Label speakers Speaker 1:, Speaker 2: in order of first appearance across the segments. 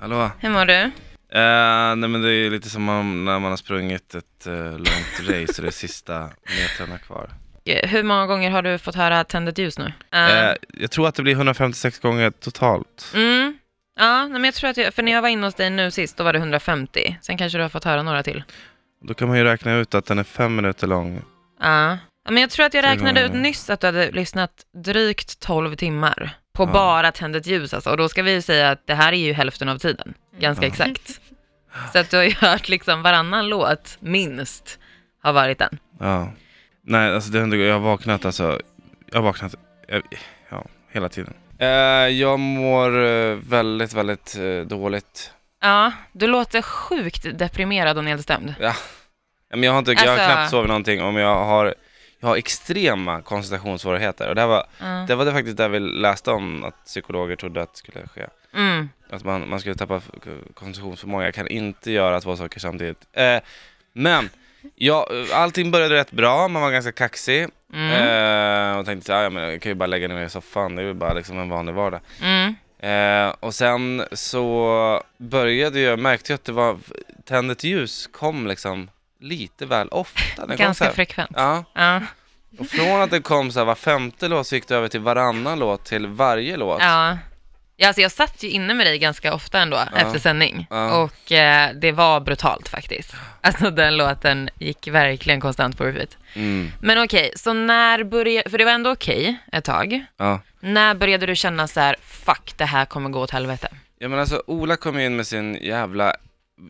Speaker 1: Hallå?
Speaker 2: Hur mår du?
Speaker 1: Eh, nej men det är lite som om när man har sprungit ett eh, långt race och det är sista metrarna kvar.
Speaker 2: Hur många gånger har du fått höra tänd ett ljus nu? Eh,
Speaker 1: Eh, jag tror att det blir 156 gånger totalt.
Speaker 2: Mm. Ja, nej, men jag tror att jag, för när jag var inne hos dig nu sist, då var det 150. Sen kanske du har fått höra några till.
Speaker 1: Då kan man ju räkna ut att den är fem minuter lång.
Speaker 2: Ja. Ja, men jag tror att jag
Speaker 1: Tre
Speaker 2: räknade ut
Speaker 1: gånger.
Speaker 2: nyss att du hade lyssnat drygt 12 timmar på
Speaker 1: Ja.
Speaker 2: bara tänd ett ljus alltså. Och då ska vi ju säga att det här är ju hälften av tiden, ganska
Speaker 1: Ja.
Speaker 2: exakt. Så att du har ju hört liksom varannan låt, minst, har varit den.
Speaker 1: Ja. Nej, alltså det har ändå- jag har vaknat alltså. Jag har vaknat, jag, ja, hela tiden. Eh, jag mår eh, väldigt, väldigt eh, dåligt.
Speaker 2: Ja, du låter sjukt deprimerad och nedstämd.
Speaker 1: Ja, Men jag har, inte, jag har
Speaker 2: Alltså-
Speaker 1: knappt sovit någonting om jag har, jag har extrema koncentrationssvårigheter. Och det, här var,
Speaker 2: Ja.
Speaker 1: det var det faktiskt där vi läste om att psykologer trodde att det skulle ske.
Speaker 2: Mm.
Speaker 1: Att man, man skulle tappa f- koncentrationsförmåga. Jag kan inte göra två saker samtidigt. Eh, men ja, allting började rätt bra, man var ganska kaxig.
Speaker 2: Mm.
Speaker 1: Eh, och tänkte så här, ja, men jag kan ju bara lägga ner mig i soffan, det är ju bara liksom en vanlig vardag.
Speaker 2: Mm.
Speaker 1: Eh, och sen så började jag, märkte jag att det var, tändet ljus kom liksom lite väl ofta. Den kom så
Speaker 2: Ganska
Speaker 1: här,
Speaker 2: frekvent.
Speaker 1: ja,
Speaker 2: Ja.
Speaker 1: och från att det kom så här var femte låt så gick det över till varannan låt till varje låt.
Speaker 2: Ja. ja alltså jag satt ju inne med dig ganska ofta ändå
Speaker 1: Ja.
Speaker 2: efter sändning
Speaker 1: Ja.
Speaker 2: och eh, det var brutalt faktiskt. Alltså den låten gick verkligen konstant på repeat.
Speaker 1: Mm,
Speaker 2: Men okej, så när började, för det var ändå okej ett tag,
Speaker 1: ja.
Speaker 2: när började du känna så här, fuck det här kommer gå åt helvete?
Speaker 1: Ja men alltså Ola kom in med sin jävla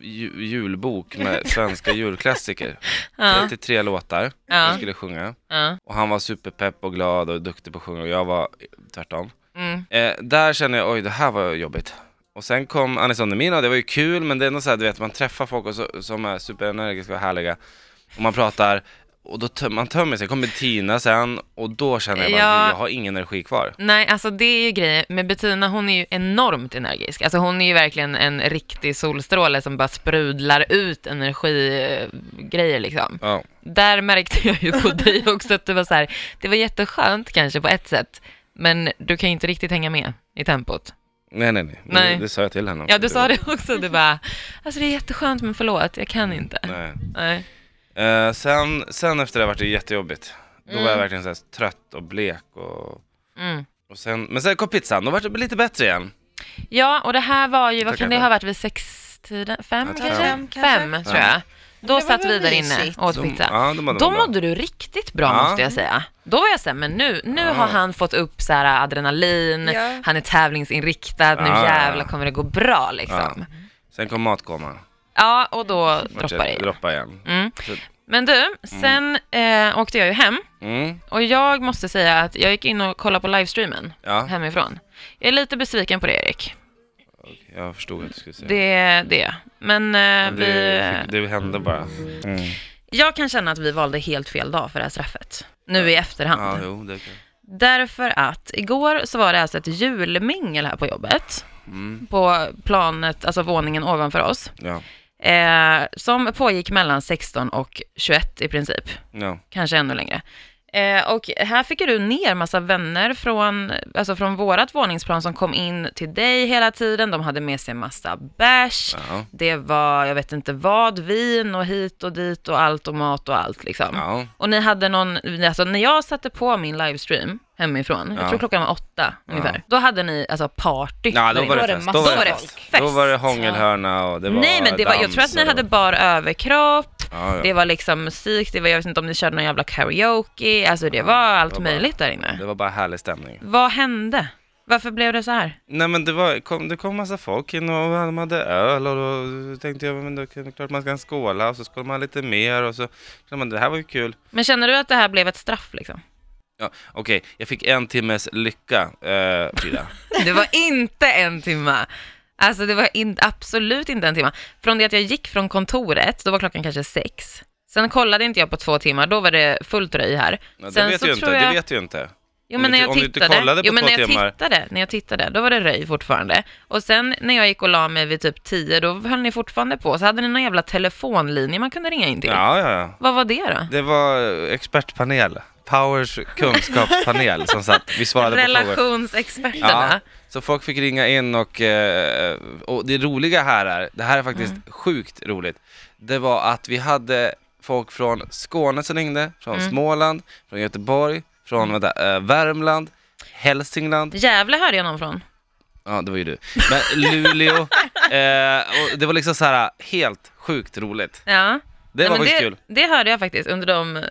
Speaker 1: ju- julbok med svenska julklassiker.
Speaker 2: Ja,
Speaker 1: 33 låtar
Speaker 2: Ja.
Speaker 1: jag skulle sjunga.
Speaker 2: ja,
Speaker 1: Och han var superpepp och glad och duktig på att sjunga och jag var tvärtom.
Speaker 2: mm,
Speaker 1: Eh, där kände jag, oj det här var jobbigt. Och sen kom Anis Don Demina och det var ju kul men det är ändå så här, du vet man träffar folk och så, som är superenergiska och härliga. Och man pratar och då töm, man tömmer sig. Kommer Tina sen och då känner jag bara,
Speaker 2: Ja.
Speaker 1: jag har ingen energi kvar.
Speaker 2: Nej, alltså det är ju grejen med Bettina, hon är ju enormt energisk. Alltså hon är ju verkligen en riktig solstråle som bara sprudlar ut energigrejer liksom.
Speaker 1: Ja.
Speaker 2: där märkte jag ju på dig också att det var så här, det var jätteskönt kanske på ett sätt, men du kan ju inte riktigt hänga med i tempot.
Speaker 1: Nej, nej, nej.
Speaker 2: Nej.
Speaker 1: Det, det sa jag till henne.
Speaker 2: Ja, du sa det också, du bara, alltså det är jätteskönt men förlåt, jag kan inte.
Speaker 1: Nej.
Speaker 2: Nej.
Speaker 1: Eh, sen, sen efter det var det jättejobbigt. Då
Speaker 2: Mm.
Speaker 1: var jag verkligen så här trött och blek och,
Speaker 2: Mm.
Speaker 1: och sen, men sen kom pizzan, då var det lite bättre igen.
Speaker 2: Ja, och det här var ju, vad
Speaker 1: Tack,
Speaker 2: kan det
Speaker 1: Anna.
Speaker 2: ha varit, vid sextiden? Fem
Speaker 1: Jag tror
Speaker 2: kanske?
Speaker 1: fem,
Speaker 2: Fem,
Speaker 3: kanske.
Speaker 2: tror jag. Då
Speaker 3: var
Speaker 2: satt
Speaker 3: väl
Speaker 2: vi där inne
Speaker 3: mysigt.
Speaker 2: och åt
Speaker 1: De-
Speaker 2: pizza.
Speaker 1: Ja, de mådde
Speaker 2: Då
Speaker 1: man bra.
Speaker 2: mådde du riktigt bra
Speaker 1: Ja.
Speaker 2: måste jag säga. Då var jag såhär, men nu, nu
Speaker 1: Ja.
Speaker 2: har han fått upp så här adrenalin,
Speaker 3: Ja.
Speaker 2: han är tävlingsinriktad, nu
Speaker 1: Ja.
Speaker 2: jävlar kommer det gå bra liksom.
Speaker 1: Sen kom matkoman.
Speaker 2: Ja, och då
Speaker 1: Vart jag-
Speaker 2: droppar det.
Speaker 1: Droppar igen.
Speaker 2: Mm. Men du, sen eh, åkte jag ju hem
Speaker 1: Mm,
Speaker 2: och jag måste säga att jag gick in och kollade på livestreamen
Speaker 1: ja, Mm.
Speaker 2: hemifrån. Jag är lite besviken på det Erik,
Speaker 1: jag förstod att du skulle säga det.
Speaker 2: det är det. Men eh,
Speaker 1: Det,
Speaker 2: vi,
Speaker 1: det hände bara. Mm.
Speaker 2: jag kan känna att vi valde helt fel dag för det här straffet. Nu i
Speaker 1: Ja,
Speaker 2: efterhand.
Speaker 1: jo, det kan
Speaker 2: Därför att igår så var det alltså ett julmingel här på jobbet.
Speaker 1: mm,
Speaker 2: På planet, alltså våningen ovanför oss.
Speaker 1: ja,
Speaker 2: Eh, som pågick mellan 16 och 21 i princip.
Speaker 1: ja,
Speaker 2: kanske ännu längre. Eh, och här fick ju du ner massa vänner från, alltså från vårat våningsplan som kom in till dig hela tiden. De hade med sig massa bärs.
Speaker 1: ja,
Speaker 2: Det var, jag vet inte vad, vin och hit och dit och allt och mat och allt liksom.
Speaker 1: ja,
Speaker 2: Och ni hade någon, alltså när jag satte på min livestream hemifrån,
Speaker 1: Ja.
Speaker 2: jag tror klockan var åtta ungefär, då hade ni alltså party.
Speaker 1: ja.
Speaker 2: där
Speaker 1: Då var
Speaker 2: inne.
Speaker 1: det
Speaker 3: var det
Speaker 1: fest.
Speaker 3: massor.
Speaker 1: Då
Speaker 2: Då var
Speaker 1: var det
Speaker 2: det
Speaker 1: fest.
Speaker 2: fest.
Speaker 1: Då var det hångelhörna och det var
Speaker 2: Nej men det var, jag
Speaker 1: dans
Speaker 2: tror att ni
Speaker 1: och det
Speaker 2: hade
Speaker 1: var-
Speaker 2: bara överkropp,
Speaker 1: Ja, ja.
Speaker 2: det var liksom musik, det var, jag vet inte om ni körde någon jävla karaoke, alltså det var allt
Speaker 1: det var bara-
Speaker 2: möjligt där inne.
Speaker 1: Det var bara härlig stämning.
Speaker 2: Vad hände? Varför blev det så här?
Speaker 1: Nej men det, var, kom, det kom massa folk in och de hade öl och då tänkte jag men det är klart man kan skåla och så skålar man lite mer och så kände man det här var ju kul.
Speaker 2: Men känner du att det här blev ett straff liksom?
Speaker 1: Ja, Okej, jag fick en timmes lycka eh, Frida.
Speaker 2: Det var inte en timme. Alltså det var in, absolut inte en timme. Från det att jag gick från kontoret, då var klockan kanske sex. Sen kollade inte jag på två timmar, då var det fullt röj här.
Speaker 1: Ja, det
Speaker 2: Sen
Speaker 1: vet
Speaker 2: så
Speaker 1: du ju inte,
Speaker 2: tror jag-
Speaker 1: det vet du ju inte.
Speaker 2: Jo
Speaker 1: Om
Speaker 2: men
Speaker 1: du
Speaker 2: när jag
Speaker 1: inte- om du inte kollade
Speaker 2: tittade,
Speaker 1: på
Speaker 2: jo, men
Speaker 1: två
Speaker 2: när jag
Speaker 1: timmar.
Speaker 2: tittade, när jag tittade, då var det röj fortfarande. Och sen när jag gick och la mig vid typ tio, då höll ni fortfarande på. Så hade ni någon jävla telefonlinje man kunde ringa in till.
Speaker 1: Ja, ja, ja.
Speaker 2: Vad var det då?
Speaker 1: Det var eh, expertpanel. Powers kunskapspanel som satt, vi svarade på frågor.
Speaker 2: Relationsexperterna.
Speaker 1: Så folk fick ringa in och, eh, och det roliga här är, det här är faktiskt
Speaker 2: Mm.
Speaker 1: sjukt roligt, det var att vi hade folk från Skåne som ringde, från
Speaker 2: Mm.
Speaker 1: Småland, från Göteborg, från vänta, eh, Värmland, Hälsingland,
Speaker 2: Gävle hörde jag någon från.
Speaker 1: ja det var ju du, men Luleå, eh, och det var liksom så här helt sjukt roligt.
Speaker 2: Ja.
Speaker 1: Det
Speaker 2: Nej, men
Speaker 1: var faktiskt
Speaker 2: det,
Speaker 1: kul.
Speaker 2: Det hörde jag faktiskt under de eh,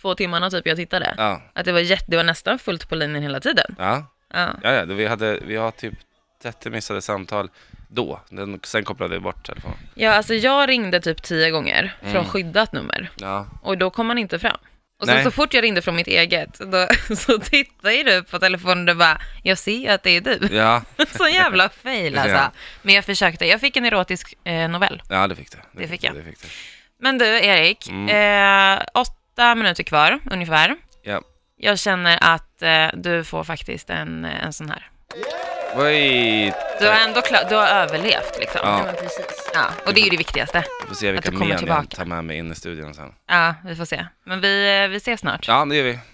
Speaker 2: två timmarna typ jag tittade.
Speaker 1: Ja,
Speaker 2: Att det var, jätte, det var nästan fullt på linjen hela tiden.
Speaker 1: ja,
Speaker 2: Ja.
Speaker 1: ja, ja det, vi, hade, vi har typ 30 missade samtal då, Den, sen kopplade vi bort telefonen.
Speaker 2: ja, alltså jag ringde typ tio gånger från
Speaker 1: Mm.
Speaker 2: skyddat nummer
Speaker 1: Ja.
Speaker 2: och då kom man inte fram. Och sen
Speaker 1: Nej.
Speaker 2: så fort jag ringde från mitt eget, då, så tittade ju du på telefonen och bara, jag ser ju att det är du.
Speaker 1: Ja,
Speaker 2: Så jävla fail
Speaker 1: Ja.
Speaker 2: alltså. Men jag försökte, jag fick en erotisk eh, novell.
Speaker 1: ja det fick du.
Speaker 2: Det fick jag.
Speaker 1: Det fick du.
Speaker 2: Men du Erik,
Speaker 1: Mm.
Speaker 2: eh, åtta minuter kvar ungefär.
Speaker 1: Ja.
Speaker 2: Jag känner att eh, du får faktiskt en, en sån här.
Speaker 1: Oj,
Speaker 2: Du har ändå klar, du har överlevt liksom.
Speaker 1: Ja.
Speaker 3: men precis.
Speaker 2: Ja, och det är ju det viktigaste.
Speaker 1: jag får se
Speaker 2: Att
Speaker 1: vilka
Speaker 2: du kommer
Speaker 1: men jag
Speaker 2: tillbaka.
Speaker 1: tar med mig in i studion sen.
Speaker 2: Ja, vi får se. Men vi, eh, vi ses snart.
Speaker 1: Ja, det gör vi.